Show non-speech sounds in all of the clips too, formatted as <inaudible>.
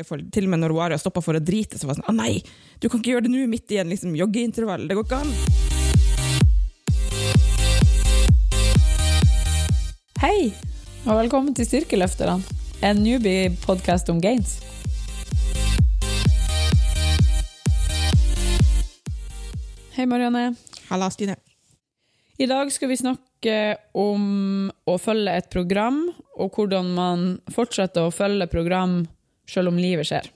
I forhold- Til og med når hun Aria stoppa for å drite, så var det sånn Å nei, du kan ikke gjøre det nå, midt i en liksom, joggeintervall. Det går ikke an. Hei, og velkommen til Styrkeløfterne, en newbie-podkast om gains. Hei, Marianne. Halla, Stine. I dag skal vi snakke om å følge et program, og hvordan man fortsetter å følge program selv om livet skjer.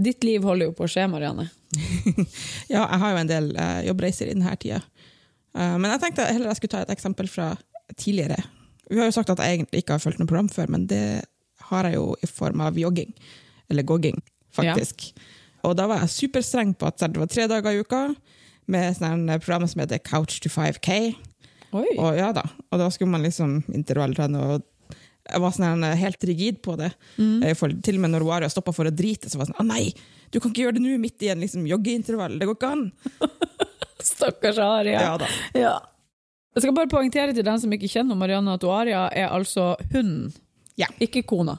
Ditt liv holder jo på å skje, Marianne. <laughs> Ja, jeg har jo en del eh, jobbreiser i denne tida. Eh, men jeg tenkte heller jeg skulle ta et eksempel fra tidligere. Vi har jo sagt at jeg egentlig ikke har fulgt noe program før, men det har jeg jo i form av jogging. Eller gogging, faktisk. Og da var jeg superstreng på at det var tre dager i uka med sånne program som heter Couch to 5K. Oi. Og ja da, og da skulle man liksom intervalltrene og jeg var sånn her, helt rigid på det. Mm. I forhold- til og med når Wario stoppa for å drite, så var jeg sånn Å nei, du kan ikke gjøre det nå, midt i en liksom, joggeintervall. Det går ikke an. Stakkars Aria. Ja da. Ja. Jeg skal bare poengtere til den som ikke kjenner Marianne, at Aria er altså hunden, Ja. ikke kona.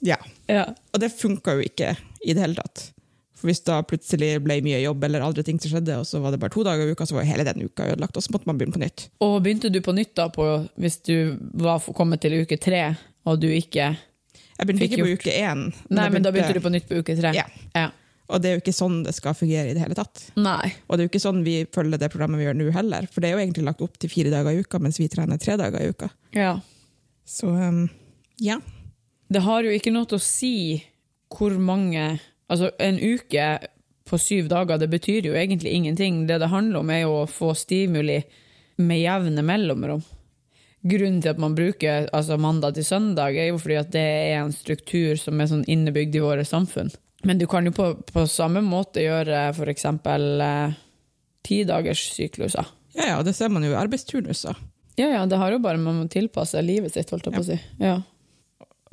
ja. Ja. Og det funka jo ikke i det hele tatt. For hvis da plutselig ble mye jobb eller andre ting som skjedde, og så var det bare to dager i uka, så var jo hele den uka ødelagt, og så måtte man begynne på nytt. Og begynte du på nytt da, på, hvis du var for- kommet til uke tre, og du ikke Jeg begynte Fikk ikke på uke én. Nei, jeg men da begynte du på nytt på uke tre. Ja. Og det er jo ikke sånn det skal fungere i det hele tatt. Nei. Og det er jo ikke sånn vi følger det programmet vi gjør nå heller, for det er jo egentlig lagt opp til fire dager i uka, mens vi trener tre dager i uka. Ja. Så um, ja. Det har jo ikke noe til å si hvor mange Altså, en uke på syv dager, det betyr jo egentlig ingenting. Det det handler om, er jo å få stimuli med jevne mellomrom. Grunnen til at man bruker altså mandag til søndag, er jo fordi at det er en struktur som er sånn innebygd i våre samfunn. Men du kan jo på, på samme måte gjøre f.eks. tidagers sykluser. Ja, ja, og det ser man jo i arbeidsturnuser. Ja, ja, det har jo bare man må tilpasse livet sitt, holdt jeg på å si. Ja.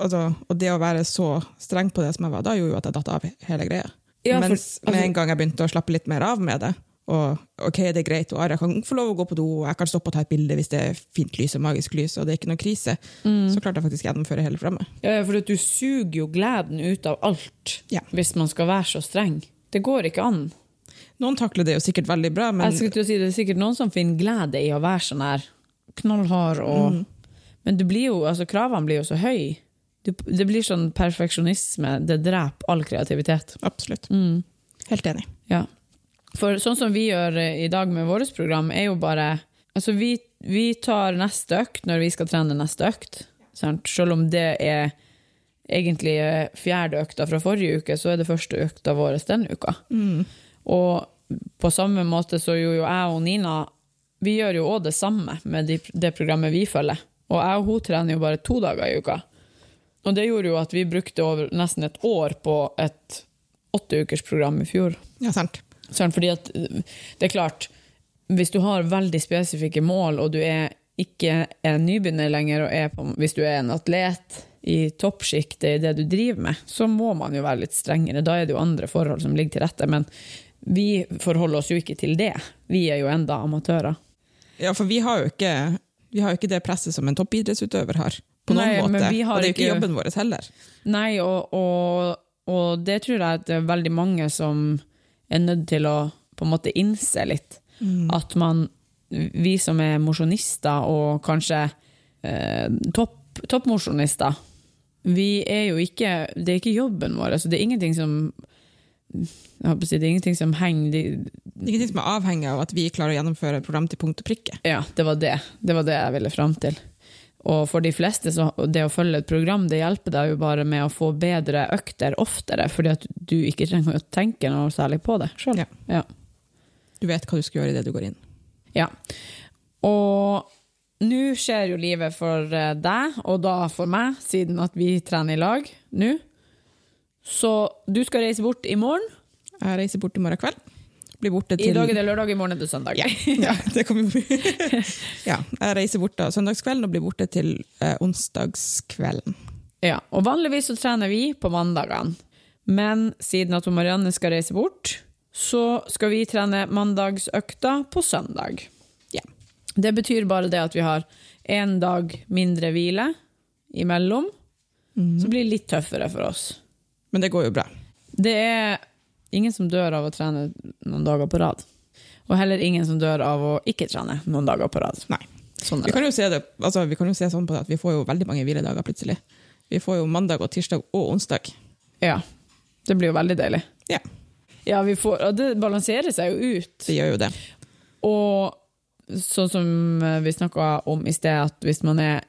Altså, og det å være så streng på det som jeg var da, gjorde jo at jeg datt av hele greia. Ja, for- altså- Mens med en gang jeg begynte å slappe litt mer av med det, og ok, det er greit, og Aria kan få lov å gå på do, og jeg kan stoppe og ta et bilde hvis det er fint lys og magisk lys, og det er ikke noe krise, Mm. så klarte jeg faktisk å gjennomføre hele programmet. Ja, ja, for at du suger jo gleden ut av alt Ja. hvis man skal være så streng. Det går ikke an. Noen takler det jo sikkert veldig bra, men Jeg skulle til å si Det er sikkert noen som finner glede i å være sånn her knallhard og Mm. Men det blir jo, altså, kravene blir jo så høye. Det, det blir sånn perfeksjonisme. Det dreper all kreativitet. absolutt. Mm. Helt enig. Ja. For sånn som vi gjør eh, i dag med vårt program, er jo bare Altså, vi, vi tar neste økt når vi skal trene neste økt. Sant? Selv om det er egentlig eh, fjerde økta fra forrige uke, så er det første økta vår denne uka. Og på samme måte så gjorde jo jeg og Nina Vi gjør jo òg det samme med de, det programmet vi følger. Og jeg og hun trener jo bare to dager i uka. Og det gjorde jo at vi brukte over nesten et år på et åtteukersprogram i fjor. Ja, sant. Sånn, fordi at øh, det er klart, hvis du har veldig spesifikke mål, og du er ikke en nybegynner lenger, og er på, hvis du er en atlet i toppsjiktet i det du driver med, så må man jo være litt strengere. Da er det jo andre forhold som ligger til rette. Men vi forholder oss jo ikke til det. Vi er jo enda amatører. Ja, for vi har jo ikke, vi har jo ikke det presset som en toppidrettsutøver har. På Nei, noen men måte. vi har og det er jo ikke ikke- jobben vår heller. Nei, og, og, og det tror jeg at det er veldig mange som er nødt til å på en måte innse litt. At man, vi som er mosjonister, og kanskje eh, topp- toppmosjonister, vi er jo ikke Det er ikke jobben vår. Altså, det er ingenting som jeg håper å si, Det er ingenting som henger de- Det er ingenting som er avhengig av at vi klarer å gjennomføre et program til punkt og prikke. Ja, det var det. Det var det jeg ville fram til. Og for de fleste, så det å følge et program, det hjelper deg jo bare med å få bedre økter oftere, fordi at du ikke trenger å tenke noe særlig på det sjøl. Ja. Du vet hva du skal gjøre idet du går inn. Ja. Og nå skjer jo livet for eh, deg, og da for meg, siden at vi trener i lag nå. Så du skal reise bort i morgen. Jeg reiser bort i morgen kveld. Blir borte I til dag er det lørdag, i morgen er det søndag. ja, <laughs> ja, det kommer jo <laughs> ja, jeg reiser bort da søndagskvelden og blir borte til eh, onsdagskvelden. Ja, og vanligvis så trener vi på mandagene. Men siden at hun Marianne skal reise bort, så skal vi trene mandagsøkta på søndag. Ja. Det betyr bare det at vi har én dag mindre hvile imellom, Så det blir litt tøffere for oss. Men det går jo bra. Det er ingen som dør av å trene noen dager på rad. Og heller ingen som dør av å ikke trene noen dager på rad. Nei. Sånn Vi er det. kan jo se, det, altså, vi kan jo se sånn på det at vi får jo veldig mange hviledager plutselig. Vi får jo mandag og tirsdag og onsdag. Ja. Det blir jo veldig deilig. Ja, Ja, vi får, og det balanserer seg jo ut. det gjør jo det. Og sånn som vi snakka om i sted, at hvis man er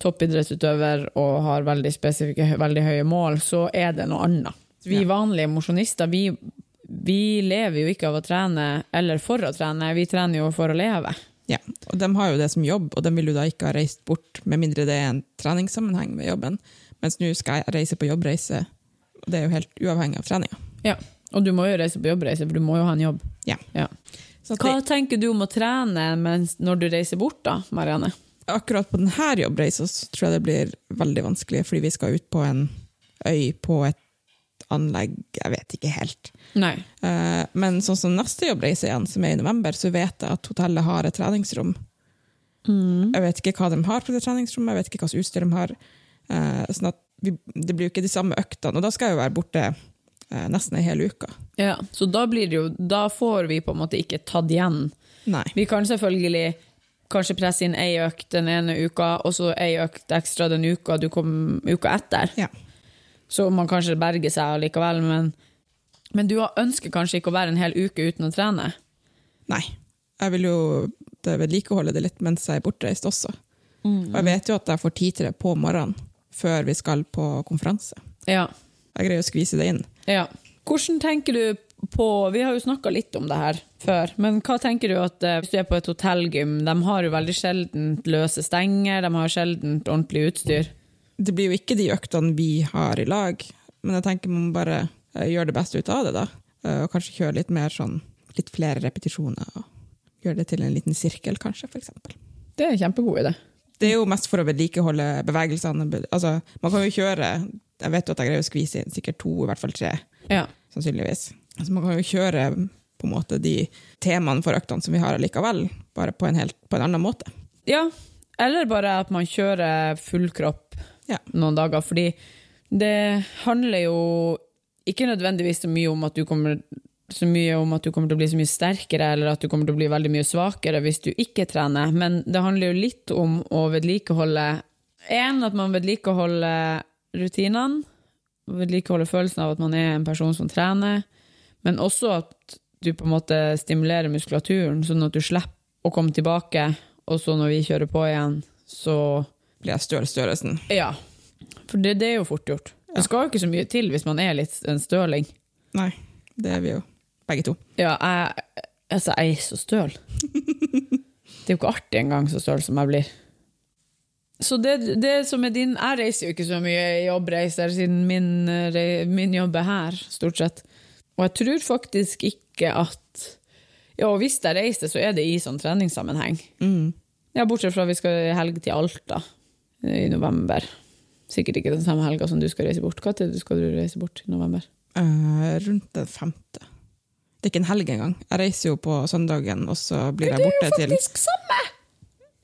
toppidrettsutøver og har veldig spesifikke, hø- veldig høye mål, så er det noe annet. Vi vanlige mosjonister, vi, vi lever jo ikke av å trene eller for å trene, vi trener jo for å leve. Ja, og de har jo det som jobb, og de vil jo da ikke ha reist bort, med mindre det er en treningssammenheng med jobben. Mens nå skal jeg reise på jobbreise, og det er jo helt uavhengig av treninga. Ja. Og du må jo reise på jobbreise, for du må jo ha en jobb. Ja. Ja. Så at Hva det, tenker du om å trene mens, når du reiser bort, da, Marianne? akkurat på denne jobbreisa så tror jeg det blir veldig vanskelig, fordi vi skal ut på en øy på et anlegg, jeg vet ikke helt. Nei. Eh, Men sånn som neste jobbreise igjen, som er i november, så vet jeg at hotellet har et treningsrom. Jeg vet ikke hva de har på det treningsrommet, jeg vet ikke hva slags utstyr de har. Eh, Sånn at vi, det blir jo ikke de samme øktene, og da skal jeg jo være borte eh, nesten ei hel uke. Ja, så da blir det jo Da får vi på en måte ikke tatt igjen. Nei. Vi kan selvfølgelig kanskje presse inn ei økt den ene uka, og så ei økt ekstra den uka du kom uka etter. Ja. Så man kanskje berger seg allikevel, men, men du ønsker kanskje ikke å være en hel uke uten å trene? Nei. Jeg vil jo det vedlikeholde det litt mens jeg er bortreist også. Og jeg vet jo at jeg får tid til det på morgenen, før vi skal på konferanse. Ja. Jeg greier å skvise det inn. ja. Hvordan tenker du på Vi har jo snakka litt om det her før, men hva tenker du at eh, Hvis du er på et hotellgym, de har jo veldig sjeldent løse stenger, de har sjeldent ordentlig utstyr. det blir jo ikke de øktene vi har i lag, men jeg tenker man bare eh, gjør det beste ut av det, da. Eh, Og kanskje kjøre litt mer sånn litt flere repetisjoner. og Gjøre det til en liten sirkel, kanskje, for eksempel. Det er en kjempegod idé. Det er jo mest for å vedlikeholde bevegelsene. Be- Altså, man kan jo kjøre Jeg vet jo at jeg greier å skvise inn sikkert to, i hvert fall tre, Ja. sannsynligvis. Altså, man kan jo kjøre på en måte de temaene for øktene som vi har likevel, bare på en, helt, på en annen måte. Ja, eller bare at man kjører full kropp Ja. noen dager, fordi det handler jo ikke nødvendigvis så mye om at du kommer så mye om at du kommer til å bli så mye sterkere eller at du kommer til å bli veldig mye svakere hvis du ikke trener, men det handler jo litt om å vedlikeholde En, at man vedlikeholder rutinene, vedlikeholder følelsen av at man er en person som trener, men også at du på en måte stimulerer muskulaturen, sånn at du slipper å komme tilbake, og så når vi kjører på igjen, så Blir jeg støl størrelsen? Ja. For det, det er jo fort gjort. Det skal jo ikke så mye til hvis man er litt en støling. Nei, det er vi jo begge to. Ja, jeg, altså, jeg er så støl. Det er jo ikke artig engang så støl som jeg blir. Så det, det som er din Jeg reiser jo ikke så mye i jobbreiser, siden min, eh, rei- min jobb er her, stort sett. Og jeg tror faktisk ikke at Ja, og hvis jeg reiser, så er det i sånn treningssammenheng. Mm. Ja, bortsett fra vi skal i helg til Alta eh, i november. Sikkert ikke den samme helga som du skal reise bort. Når skal du reise bort i november? Eh, rundt den femte. Det er ikke en helg engang. Jeg reiser jo på søndagen, og så blir jeg borte til samme!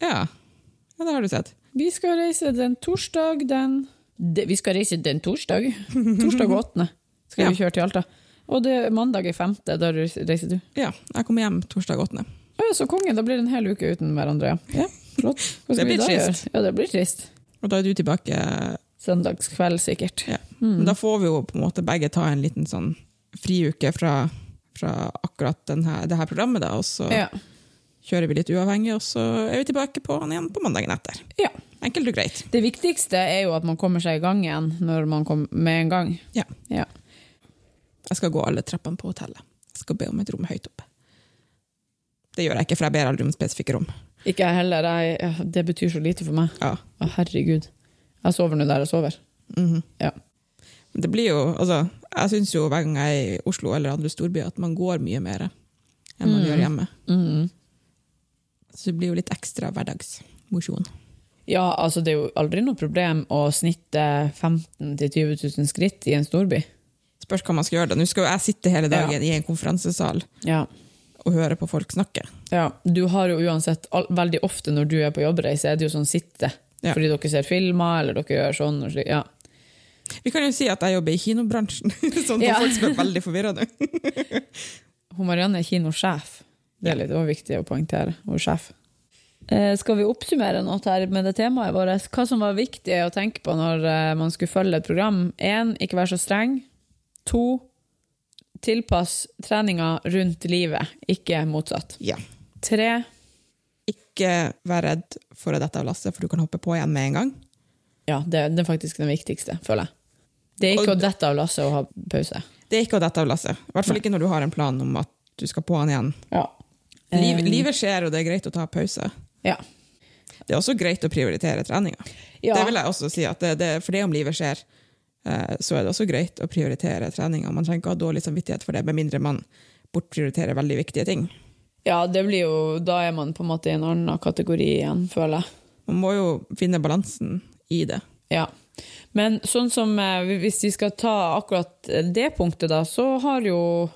ja. ja, det har du sett. Vi skal reise den torsdag den De- Vi skal reise den <laughs> torsdag? Torsdag 8. skal vi kjøre til Alta. Og det er mandag i 5. Da reis- reiser du. Ja, jeg kommer hjem torsdag 8. Å ja, så konge. Da blir det en hel uke uten hverandre, ja. ja flott. Hva Det skal vi blir da trist. gjøre? Ja, det blir trist. Og da er du tilbake. Søndagskveld, sikkert. Ja. Men da får vi jo på en måte begge ta en liten sånn friuke fra, fra akkurat den her, det her programmet, da. Og så Ja. kjører vi litt uavhengig, og så er vi tilbake på den igjen på mandagen etter. ja. Enkelt og greit. Det viktigste er jo at man kommer seg i gang igjen når man kom med en gang. Ja. Ja. Jeg skal gå alle trappene på hotellet. Jeg skal be om et rom høyt oppe. Det gjør jeg ikke, for jeg ber aldri om spesifikke rom. Ikke jeg heller. Jeg, det betyr så lite for meg. Ja. Å, herregud. Jeg sover nå der jeg sover. Mhm. Ja. Men Det blir jo, altså, jeg syns jo hver gang jeg er i Oslo eller andre storbyer, at man går mye mer enn man gjør hjemme. Mm. Så det blir jo litt ekstra hverdagsmosjon. Ja, altså det er jo aldri noe problem å snitte 15 000-20 000 skritt i en storby. Spørs hva man skal gjøre. da. Nå skal jo jeg sitte hele dagen i en konferansesal Ja. og høre på folk snakke. ja. Du har jo uansett, al- veldig ofte når du er på jobbreise, er det jo sånn sitte. Ja. Fordi dere ser filmer, eller dere gjør sånn og slik. Ja. Vi kan jo si at jeg jobber i kinobransjen, <laughs> sånn at Ja. folk som er veldig forvirra <laughs> nå. Hun Marianne er kinosjef. Det er litt også viktig å poengtere. Hun er sjef. Eh, skal vi oppsummere noe her med det temaet vårt? Hva som var viktig å tenke på når eh, man skulle følge et program? Én, ikke vær så streng. To, tilpass treninga rundt livet, ikke motsatt. Ja. Tre, Ikke vær redd for å dette av lasset, for du kan hoppe på igjen med en gang. ja, det, det er faktisk den viktigste, føler jeg. Det er ikke Og- å dette av lasset og ha pause. Det er ikke å dette av lasset. I hvert fall ikke når du har en plan om at du skal på han igjen. Ja. Liv, livet skjer, og det er greit å ta pause. Eh, Ja. Det er også greit å prioritere treninga. Ja. Det vil jeg også si, at det, det, for det om livet skjer, eh, så er det også greit å prioritere treninga. Man trenger ikke ha dårlig samvittighet for det, med mindre man bortprioriterer veldig viktige ting. ja, det blir jo Da er man på en måte i en annen kategori igjen, føler jeg. Man må jo finne balansen i det. Ja. Men sånn som eh, hvis vi skal ta akkurat det punktet, da, så har jo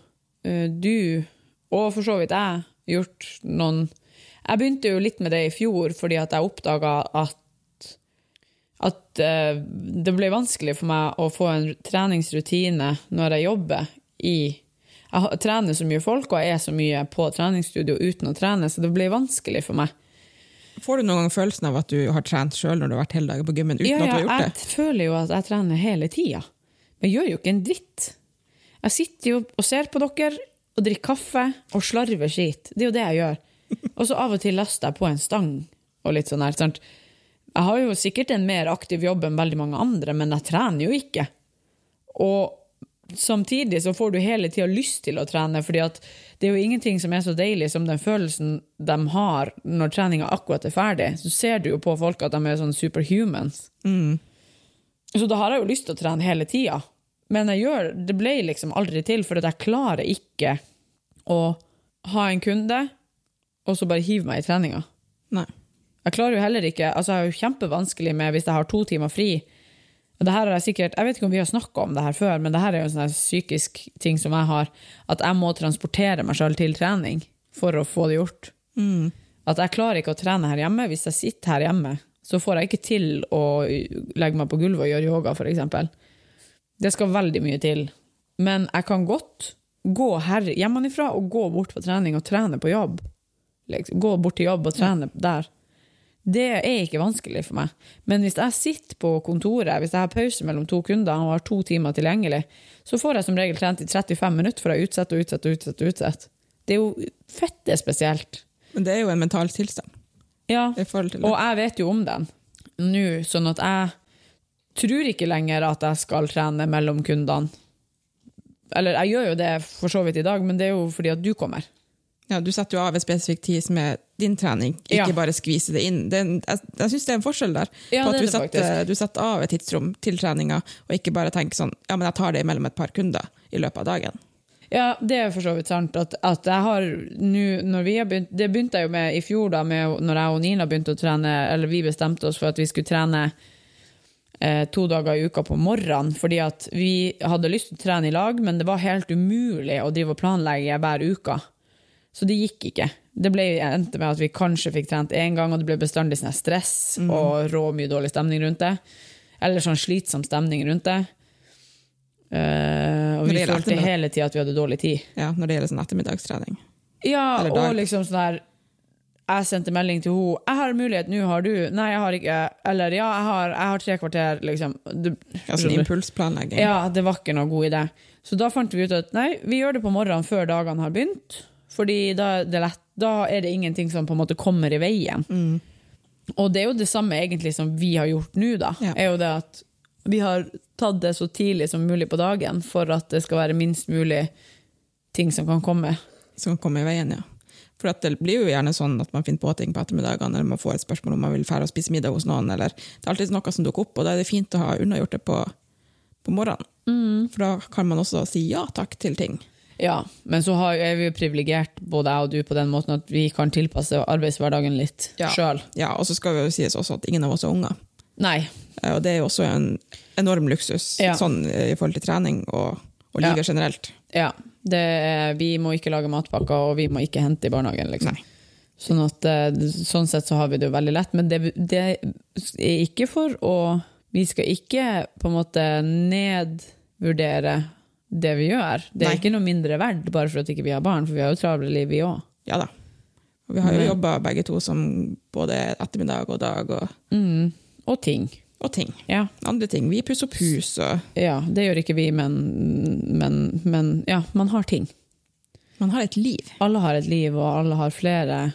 eh, du, og for så vidt jeg, gjort noen Jeg begynte jo litt med det i fjor fordi at jeg oppdaga at at eh, det ble vanskelig for meg å få en treningsrutine når jeg jobber i Jeg har- trener så mye folk, og jeg er så mye på treningsstudio uten å trene, så det ble vanskelig for meg. Får du noen gang følelsen av at du har trent sjøl når du har vært hele dagen på gymmen uten ja, at du ja, har gjort jeg det? føler jo at jeg trener hele tida. Men jeg gjør jo ikke en dritt. Jeg sitter jo og ser på dere og drikker kaffe og slarver skit. Det er jo det jeg gjør. Og så av og til laster jeg på en stang og litt sånn her. Sant? Jeg har jo sikkert en mer aktiv jobb enn veldig mange andre, men jeg trener jo ikke. Og samtidig så får du hele tida lyst til å trene, fordi at det er jo ingenting som er så deilig som den følelsen de har når treninga akkurat er ferdig. Så ser du jo på folk at de er sånn superhumans. Så da har jeg jo lyst til å trene hele tida. Men jeg gjør, det ble liksom aldri til, for at jeg klarer ikke å ha en kunde og så bare hive meg i treninga. Nei. Jeg klarer jo heller ikke, altså jeg er jo kjempevanskelig med hvis jeg har to timer fri. Og det her er jeg sikkert, jeg vet ikke om vi har snakket om det her før, men det her er jo en sånn her psykisk ting som jeg har, at jeg må transportere meg selv til trening for å få det gjort. At jeg klarer ikke å trene her hjemme. Hvis jeg sitter her hjemme, så får jeg ikke til å legge meg på gulvet og gjøre yoga, for eksempel. Det skal veldig mye til. Men jeg kan godt gå her hjemmefra og gå bort på trening og trene på jobb. Liksom, gå bort til jobb og trene der. Det er ikke vanskelig for meg. Men hvis jeg sitter på kontoret, hvis jeg har pause mellom to kunder og har to timer tilgjengelig, så får jeg som regel trent i 35 minutter, for jeg utsetter og utsetter og utsetter. og utsetter. Det er jo fette spesielt. Men det er jo en mental tilstand. Ja. I forhold til det. Og jeg vet jo om den nå, sånn at jeg tror ikke lenger at jeg skal trene mellom kundene. Eller jeg gjør jo det for så vidt i dag, men det er jo fordi at du kommer. Ja, du setter jo av en spesifikk tid som er din trening, ikke Ja. bare skvise det inn. Det er en, jeg jeg syns det er en forskjell der. Ja, på det at du er det setter, du setter av et tidsrom til treninga, og ikke bare tenker sånn ja, men jeg tar det mellom et par kunder i løpet av dagen. Ja, det er for så vidt sant. At, at jeg har nå, når vi har begynt Det begynte jeg jo med i fjor, da med, når jeg og Nina begynte å trene, eller vi bestemte oss for at vi skulle trene eh, to dager i uka på morgenen, fordi at vi hadde lyst til å trene i lag, men det var helt umulig å drive og planlegge hver uke. Så det gikk ikke. Det ble, endte med at vi kanskje fikk trent én gang, og det ble bestandig sånn her stress Mm. og rå mye dårlig stemning rundt det. Eller sånn slitsom stemning rundt det. Eh, og Men vi det gjelder følte ettermiddag. hele tida at vi hadde dårlig tid. Ja, når det gjelder sånn ettermiddagstrening. Ja, Eller dag. og liksom sånn her Jeg sendte melding til henne. 'Jeg har mulighet, nå har du.' 'Nei, jeg har ikke.' Eller 'ja, jeg har, jeg har tre kvarter', liksom. Du, Ja, sånn impulsplanlegging. ja, det var ikke noe god idé. Så da fant vi ut at nei, vi gjør det på morgenen før dagene har begynt. Fordi da er det lett. Da er det ingenting som på en måte kommer i veien. Mm. Og det er jo det samme egentlig som vi har gjort nå, da. Ja. Er jo det at vi har tatt det så tidlig som mulig på dagen for at det skal være minst mulig ting som kan komme. Som kan komme i veien, ja. For at det blir jo gjerne sånn at man finner på ting på ettermiddagene, eller man får et spørsmål om man vil fære og spise middag hos noen, eller det er alltid noe som dukker opp, og da er det fint å ha unnagjort det på, på morgenen. Mm. For da kan man også si ja takk til ting. Ja, men så har, er vi jo privilegert, både jeg og du, på den måten at vi kan tilpasse arbeidshverdagen litt Ja. sjøl. Ja, og så skal vi jo sies også at ingen av oss er unger. Nei. Eh, Og det er jo også en enorm luksus Ja. sånn, eh, i forhold til trening og, og Ja. livet generelt. Ja. Det, er- vi må ikke lage matpakker, og vi må ikke hente i barnehagen, liksom. Nei. Sånn, at, eh, sånn sett så har vi det jo veldig lett, men det, det er ikke for å Vi skal ikke på en måte nedvurdere det vi gjør. Det er Nei. ikke noe mindre verdt bare for at ikke vi ikke har barn, for vi har jo travle liv, vi òg. Ja da. Og vi har jo Men- jobba begge to som både ettermiddag og dag og, Mm. Og ting. og ting. Ja. Andre ting. Vi pusser opp hus og ja, det gjør ikke vi, men, men, men ja, man har ting. Man har et liv. Alle har et liv, og alle har flere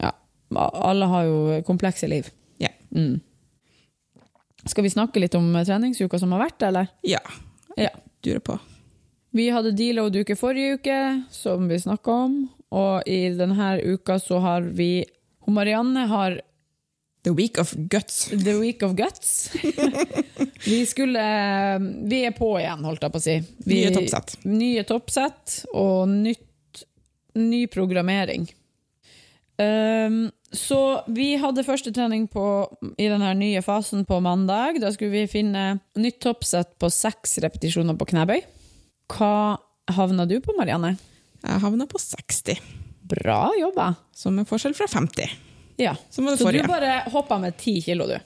Ja, alle har jo komplekse liv. Ja. Mm. Skal vi snakke litt om eh, treningsuka som har vært, eller? Ja. Ja. Durer på. Vi hadde deload-uke forrige uke, som vi snakka om. Og i denne uka så har vi hun Marianne har The week of guts. the week of guts. <laughs> vi skulle Vi er på igjen, holdt jeg på å si. Vi, Nye toppsett. Nye toppsett og nytt, ny programmering. Ehm, så vi hadde første trening på, i denne nye fasen på mandag. Da skulle vi finne nytt toppsett på seks repetisjoner på knebøy. Hva havna du på, Marianne? Jeg havna på 60, Bra jobba. som er forskjell fra 50. Ja. Som var det Så du forrige. bare hoppa med ti kilo, du.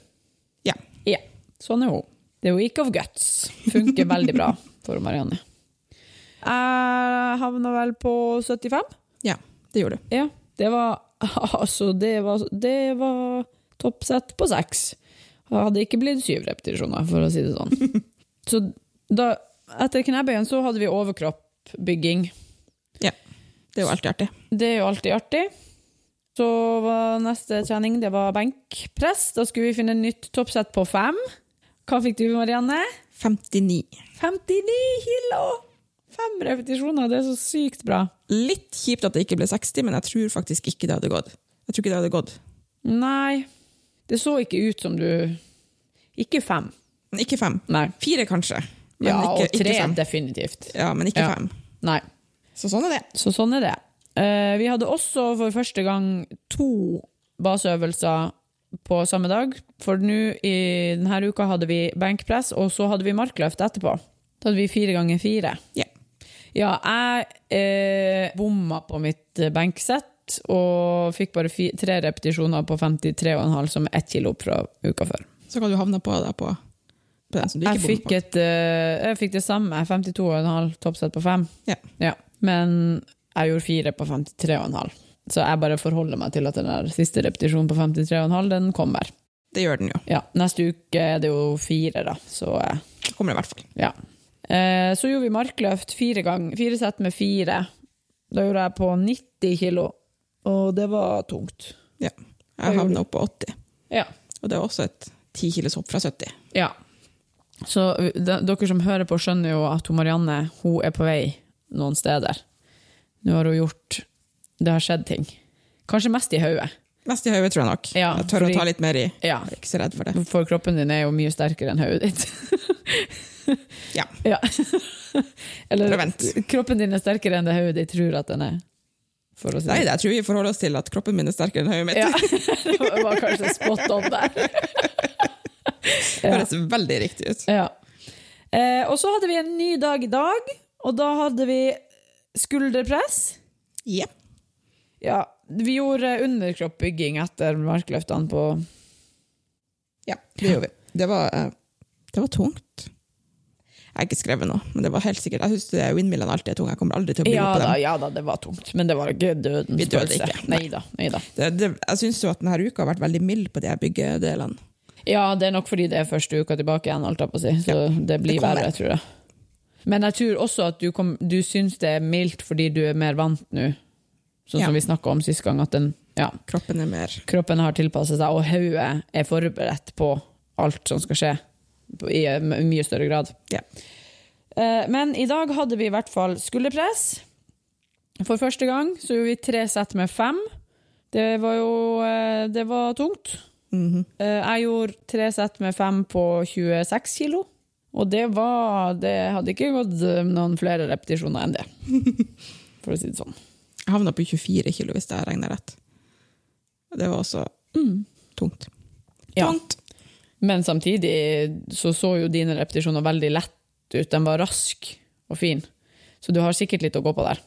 Ja. Ja, sånn er hun. The Week of Guts funker veldig bra for Marianne. Jeg havna vel på 75. ja. Det gjorde du. Ja, det var <laughs> Altså, det var, det var toppsett på seks. Jeg hadde ikke blitt syv repetisjoner, for å si det sånn. Så da, etter knebøyen så hadde vi overkroppbygging. Ja. Det er jo alltid artig. Det er jo alltid artig. Så var neste trening det var benkpress. Da skulle vi finne nytt toppsett på fem. Hva fikk du, Marianne? 59. 59 kilo! Fem repetisjoner, det er så sykt bra. Litt kjipt at det ikke ble 60, men jeg tror faktisk ikke det hadde gått. Jeg tror ikke det hadde gått. Nei, det så ikke ut som du Ikke fem. Men Ikke fem. Nei. Fire, kanskje. Men ja, ikke, og tre ikke fem. definitivt. Ja, men ikke Ja. fem. Nei. Så sånn er det. Så sånn er det. Eh, vi hadde også for første gang to baseøvelser på samme dag. For nå i denne uka hadde vi benkpress, og så hadde vi markløft etterpå. Da hadde vi fire ganger fire. Ja. Ja, jeg eh, bomma på mitt eh, benksett og fikk bare fi tre repetisjoner på 53,5, som er ett kilo opp fra uka før. Så kan du havne på da på, på den som du Jeg ikke fikk, bommer på. et, eh, jeg fikk det samme, 52,5 toppsett på fem. Ja. Men jeg gjorde fire på 53,5. Så jeg bare forholder meg til at den der siste repetisjonen på 53,5 den kommer. Det gjør den jo. Ja, Neste uke er det jo fire, da. Så eh, Det kommer det i hvert fall. Ja. Eh, så gjorde vi markløft fire gang, fire sett med fire. Da gjorde jeg på 90 kilo, og det var tungt. Ja. gjorde Jeg havna opp på 80, Ja. og det er også et 10 kilos hopp fra 70. ja. Så eh, de, dere som hører på, skjønner jo at hun Marianne hun er på vei noen steder. Nå har hun gjort Det har skjedd ting. Kanskje mest i hodet. Mest i hodet, tror jeg nok. Ja, jeg tør fordi- å ta litt mer i. Ja. Jeg er ikke så redd for det. For kroppen din er jo mye sterkere enn hodet ditt. <laughs> Ja. ja. <laughs> Eller Bare vent. kroppen din er sterkere enn det hodet ditt tror at den er. For å si Nei, det. det- jeg tror vi forholder oss til at kroppen min er sterkere enn hodet mitt. <laughs> Ja, det var kanskje spot on der. Det <laughs> høres veldig riktig ut. Ja. Eh, og så hadde vi en ny dag i dag, og da hadde vi skulderpress. Ja. Ja, vi gjorde underkroppbygging etter markløftene på ja, det gjorde vi. Det var, eh, det var tungt. Jeg har ikke skrevet noe, men det var helt sikkert. Jeg syns windmillene alltid er tunge. Jeg kommer aldri til å bli ja god på da, dem. ja da, det var tungt, men det var ikke dødens Vi døde pølse. ikke, nei. Nei da, nei da. Det, det, jeg syns jo at denne uka har vært veldig mild på de her byggedelene. Ja, det er nok fordi det er første uka tilbake igjen, holdt jeg på å si. Så det blir det kommer. verre, tror jeg. Men jeg tror også at du, kom, du syns det er mildt fordi du er mer vant nå. Sånn Ja. som vi snakka om sist gang, at den, ja, Kroppen er mer kroppen har tilpassa seg, og hodet er forberedt på alt som skal skje. I eh, m- mye større grad. Ja. Eh, Men i dag hadde vi i hvert fall skulderpress. For første gang så gjorde vi tre sett med fem. Det var jo eh, Det var tungt. Mhm. Eh, Jeg gjorde tre sett med fem på 26 kilo. Og det var Det hadde ikke gått eh, noen flere repetisjoner enn det. <laughs> For å si det sånn. Jeg havna på 24 kilo, hvis jeg regner rett. Og Det var også tungt. Mm. Ja. Tungt! Men samtidig så så jo dine repetisjoner veldig lett ut. Den var rask og fin. Så du har sikkert litt å gå på der.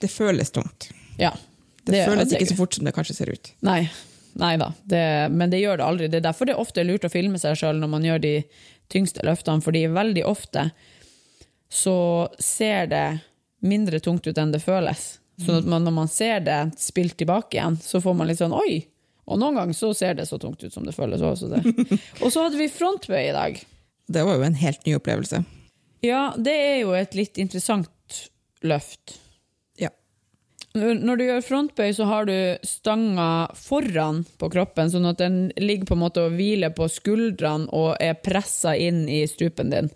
Det føles tungt. Ja. Det, føles ikke så fort som det kanskje ser ut. Nei, Nei da, det, men det gjør det aldri. Det er derfor det er ofte lurt å filme seg sjøl når man gjør de tyngste løftene, fordi veldig ofte så ser det mindre tungt ut enn det føles. Sånn at man, når man ser det spilt tilbake igjen, så får man litt sånn oi! Og noen ganger så ser det så tungt ut som det føles også. Det. Og så hadde vi frontbøy i dag. Det var jo en helt ny opplevelse. Ja, det er jo et litt interessant løft. Ja. Når når du gjør frontbøy, så har du stanga foran på kroppen, sånn at den ligger på en måte og hviler på skuldrene og er pressa inn i strupen din.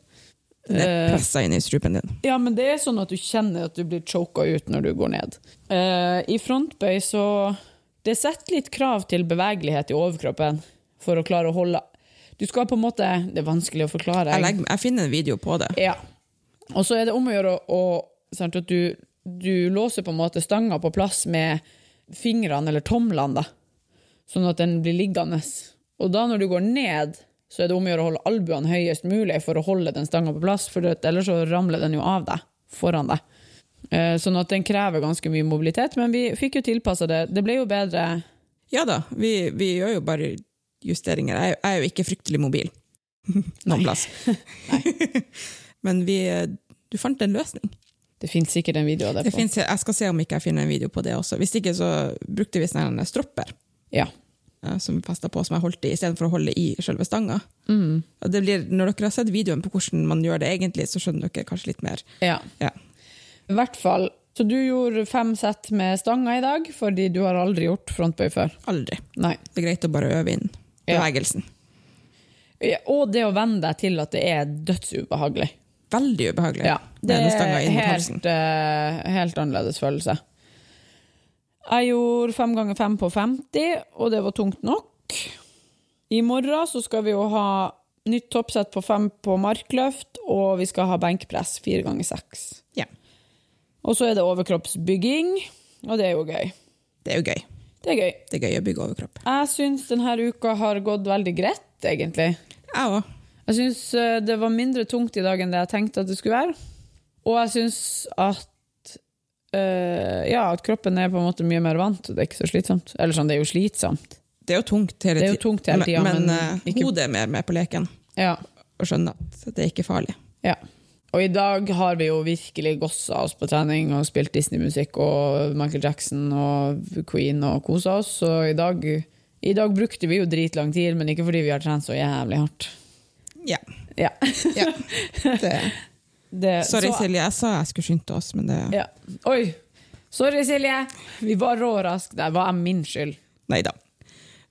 Den er pressa inn i strupen din. Ja, men det er sånn at du kjenner at du blir choka ut når du går ned. Eh, I frontbøy så Det setter litt krav til bevegelighet i overkroppen for å klare å holde Du skal på en måte Det er vanskelig å forklare. Jeg, legger, jeg finner en video på det. Ja. Og så er det om å gjøre å, å sant, at du, du låser på en måte stanga på plass med fingrene eller tomlene, da. Sånn at den blir liggende. Og da når du går ned, så er det om å gjøre å holde albuene høyest mulig for å holde den stanga på plass, for at ellers så ramler den jo av deg, foran deg. Eh, Sånn at den krever ganske mye mobilitet, men vi fikk jo tilpassa det. Det ble jo bedre Ja da, vi, vi gjør jo bare justeringer. Jeg, jeg er jo ikke fryktelig mobil <laughs> noen <laughs> plass. <laughs> Men vi, eh, du fant en løsning. Det fins sikkert en video av det. Det på- finnes, jeg skal se om ikke jeg finner en video på det også. Hvis ikke så brukte vi sånne stropper Ja. eh, som vi festet på, som jeg holdt i, istedenfor å holde i selve stanga. Mm. Og det blir, når dere har sett videoen på hvordan man gjør det egentlig, så skjønner dere kanskje litt mer. ja. Ja. I hvert fall. Så du gjorde fem sett med stanga i dag, fordi du har aldri gjort frontbøy før. Aldri. Nei. Det er greit å bare øve inn Ja. bevegelsen. Ja, Og det å venne deg til at det er dødsubehagelig. Veldig ubehagelig. Ja, det med den stanga er inn mot halsen. helt, eh, helt annerledes følelse. Jeg gjorde fem ganger fem på 50, og det var tungt nok. I morgen så skal vi jo ha nytt toppsett på fem på markløft, og vi skal ha benkpress fire ganger seks. Ja. Og så er det overkroppsbygging, og det er jo gøy. Det er jo gøy. Det er gøy. Det er gøy å bygge overkropp. Jeg syns denne uka har gått veldig greit, egentlig. Jeg òg. Jeg syns eh, det var mindre tungt i dag enn det jeg tenkte at det skulle være. Og jeg syns at eh, Ja, at kroppen er på en måte mye mer vant, og det er ikke så slitsomt. Eller sånn, det er jo slitsomt. Det er jo tungt hele Det er jo ti- tungt hele tiden, men, men men eh, ikke- hodet er mer med på leken Ja. og skjønner at det er ikke farlig. ja. Og i dag har vi jo virkelig gossa oss på trening og spilt Disney-musikk og Michael Jackson og Queen og kosa oss, så i dag, i dag brukte vi jo dritlang tid, men ikke fordi vi har trent så jævlig hardt. Ja. Ja. <laughs> ja. Det. Det, Sorry, så- Silje. Jeg sa jeg skulle skynde oss, men det Ja. Oi! Sorry, Silje. Vi var råraske. Det var min skyld. Nei da.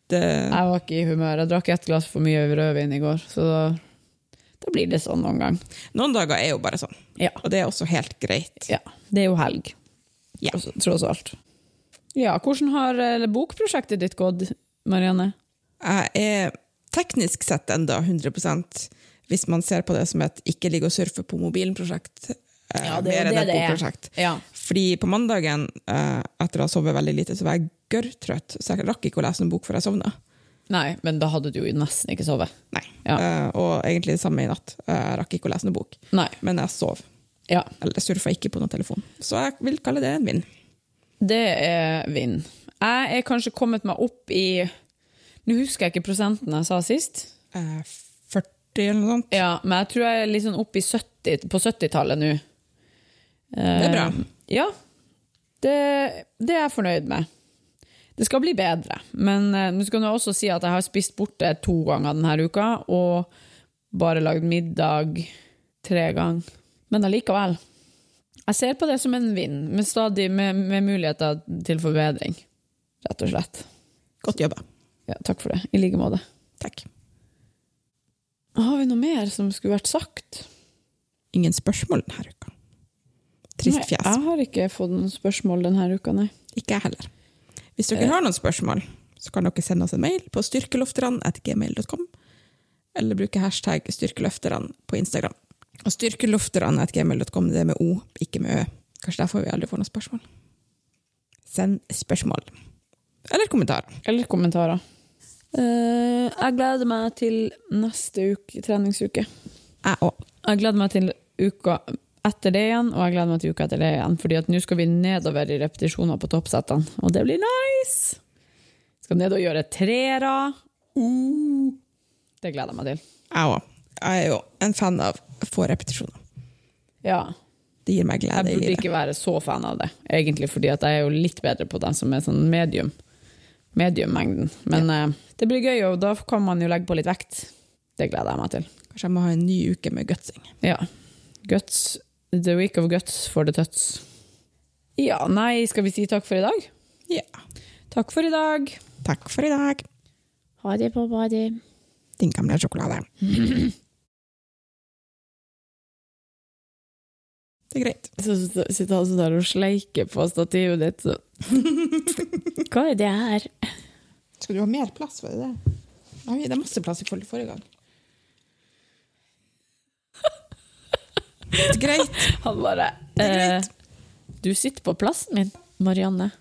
Det, Jeg var ikke i humør. Jeg drakk ett glass for mye rødvin i går, så da, da blir det sånn noen gang. noen dager er jo bare sånn, Ja. og det er også helt greit. ja. Det er jo helg, Ja. tross, tross alt. Ja, hvordan har eh, bokprosjektet ditt gått, Marianne? Jeg er teknisk sett enda 100 hvis man ser på det som et ikke ligge og surfe på mobilen-prosjekt. eh, mer enn et bokprosjekt. Ja. Fordi på mandagen, eh, etter å ha sovet veldig lite, så var jeg gørrtrøtt, så jeg rakk ikke å lese en bok før jeg sovna. Nei, men da hadde du jo nesten ikke sovet. Nei. Ja. Eh, og egentlig det samme i natt. Eh, Jeg rakk ikke å lese noen bok, Nei. men jeg sov. Ja. Eller surfa ikke på noen telefon. Så jeg vil kalle det en vinn. Det er vinn. Jeg er kanskje kommet meg opp i Nå husker jeg ikke prosenten jeg sa sist. Eh, 40 eller noe sånt. Ja, men jeg tror jeg er litt sånn oppe i 70, på 70-tallet nå. Eh, Det er bra. Ja. Det, det er jeg fornøyd med. Det skal bli bedre. Men eh, nå skal jeg også si at jeg har spist borte to ganger denne uka, og bare lagd middag tre ganger. Men allikevel. Jeg ser på det som en vinn, men stadig med, med muligheter til forbedring. Rett og slett. Godt jobba. Ja, takk for det. I like måte. Takk. Har vi noe mer som skulle vært sagt? Ingen spørsmål denne uka. Trist Nei, fjes. Jeg har ikke fått noen spørsmål denne uka, nei. Ikke jeg heller. Hvis Eh. dere har noen spørsmål, så kan dere sende oss en mail på styrkelofterne.gmail.com, eller bruke hashtag styrkelofterne på Instagram. Og styrkelofterne.gmail.com, det er med O, ikke med Ø. Kanskje derfor vi aldri får noen spørsmål. Send spørsmål. Eller kommentarer. Eller kommentarer. Eh, jeg gleder meg til neste uke, treningsuke. Jeg òg. Jeg gleder meg til uka etter det igjen, og jeg gleder meg til uka etter det igjen. Fordi at nå skal vi nedover i repetisjoner på toppsettene, og det blir nice! Skal ned og gjøre treere. Uh. Det gleder jeg meg til. Jeg òg. Jeg er jo en fan av få repetisjoner. Ja. Det gir meg Jeg glede i burde livet. ikke være så fan av det, egentlig, fordi at jeg er jo litt bedre på den som er sånn medium. Mediummengden. Men eh, det blir gøy, og da kan man jo legge på litt vekt. Det gleder jeg meg til. Kanskje jeg må ha en ny uke med gutsing. Ja. Guts. The week of guts for the tuts. Ja, nei, skal vi si takk for i dag? Ja. Takk for i dag. Takk for i dag, Ha det på badet. din gamle sjokolade. Det er greit. <laughs> Så sitter han sånn der og sleiker på stativet ditt. Så. Hva er det her? Skal du ha mer plass? Var det det? Nei, det er masse plass i forhold til forrige gang. Det er greit. Han bare Det er greit. eh, Du sitter på plassen min, Marianne.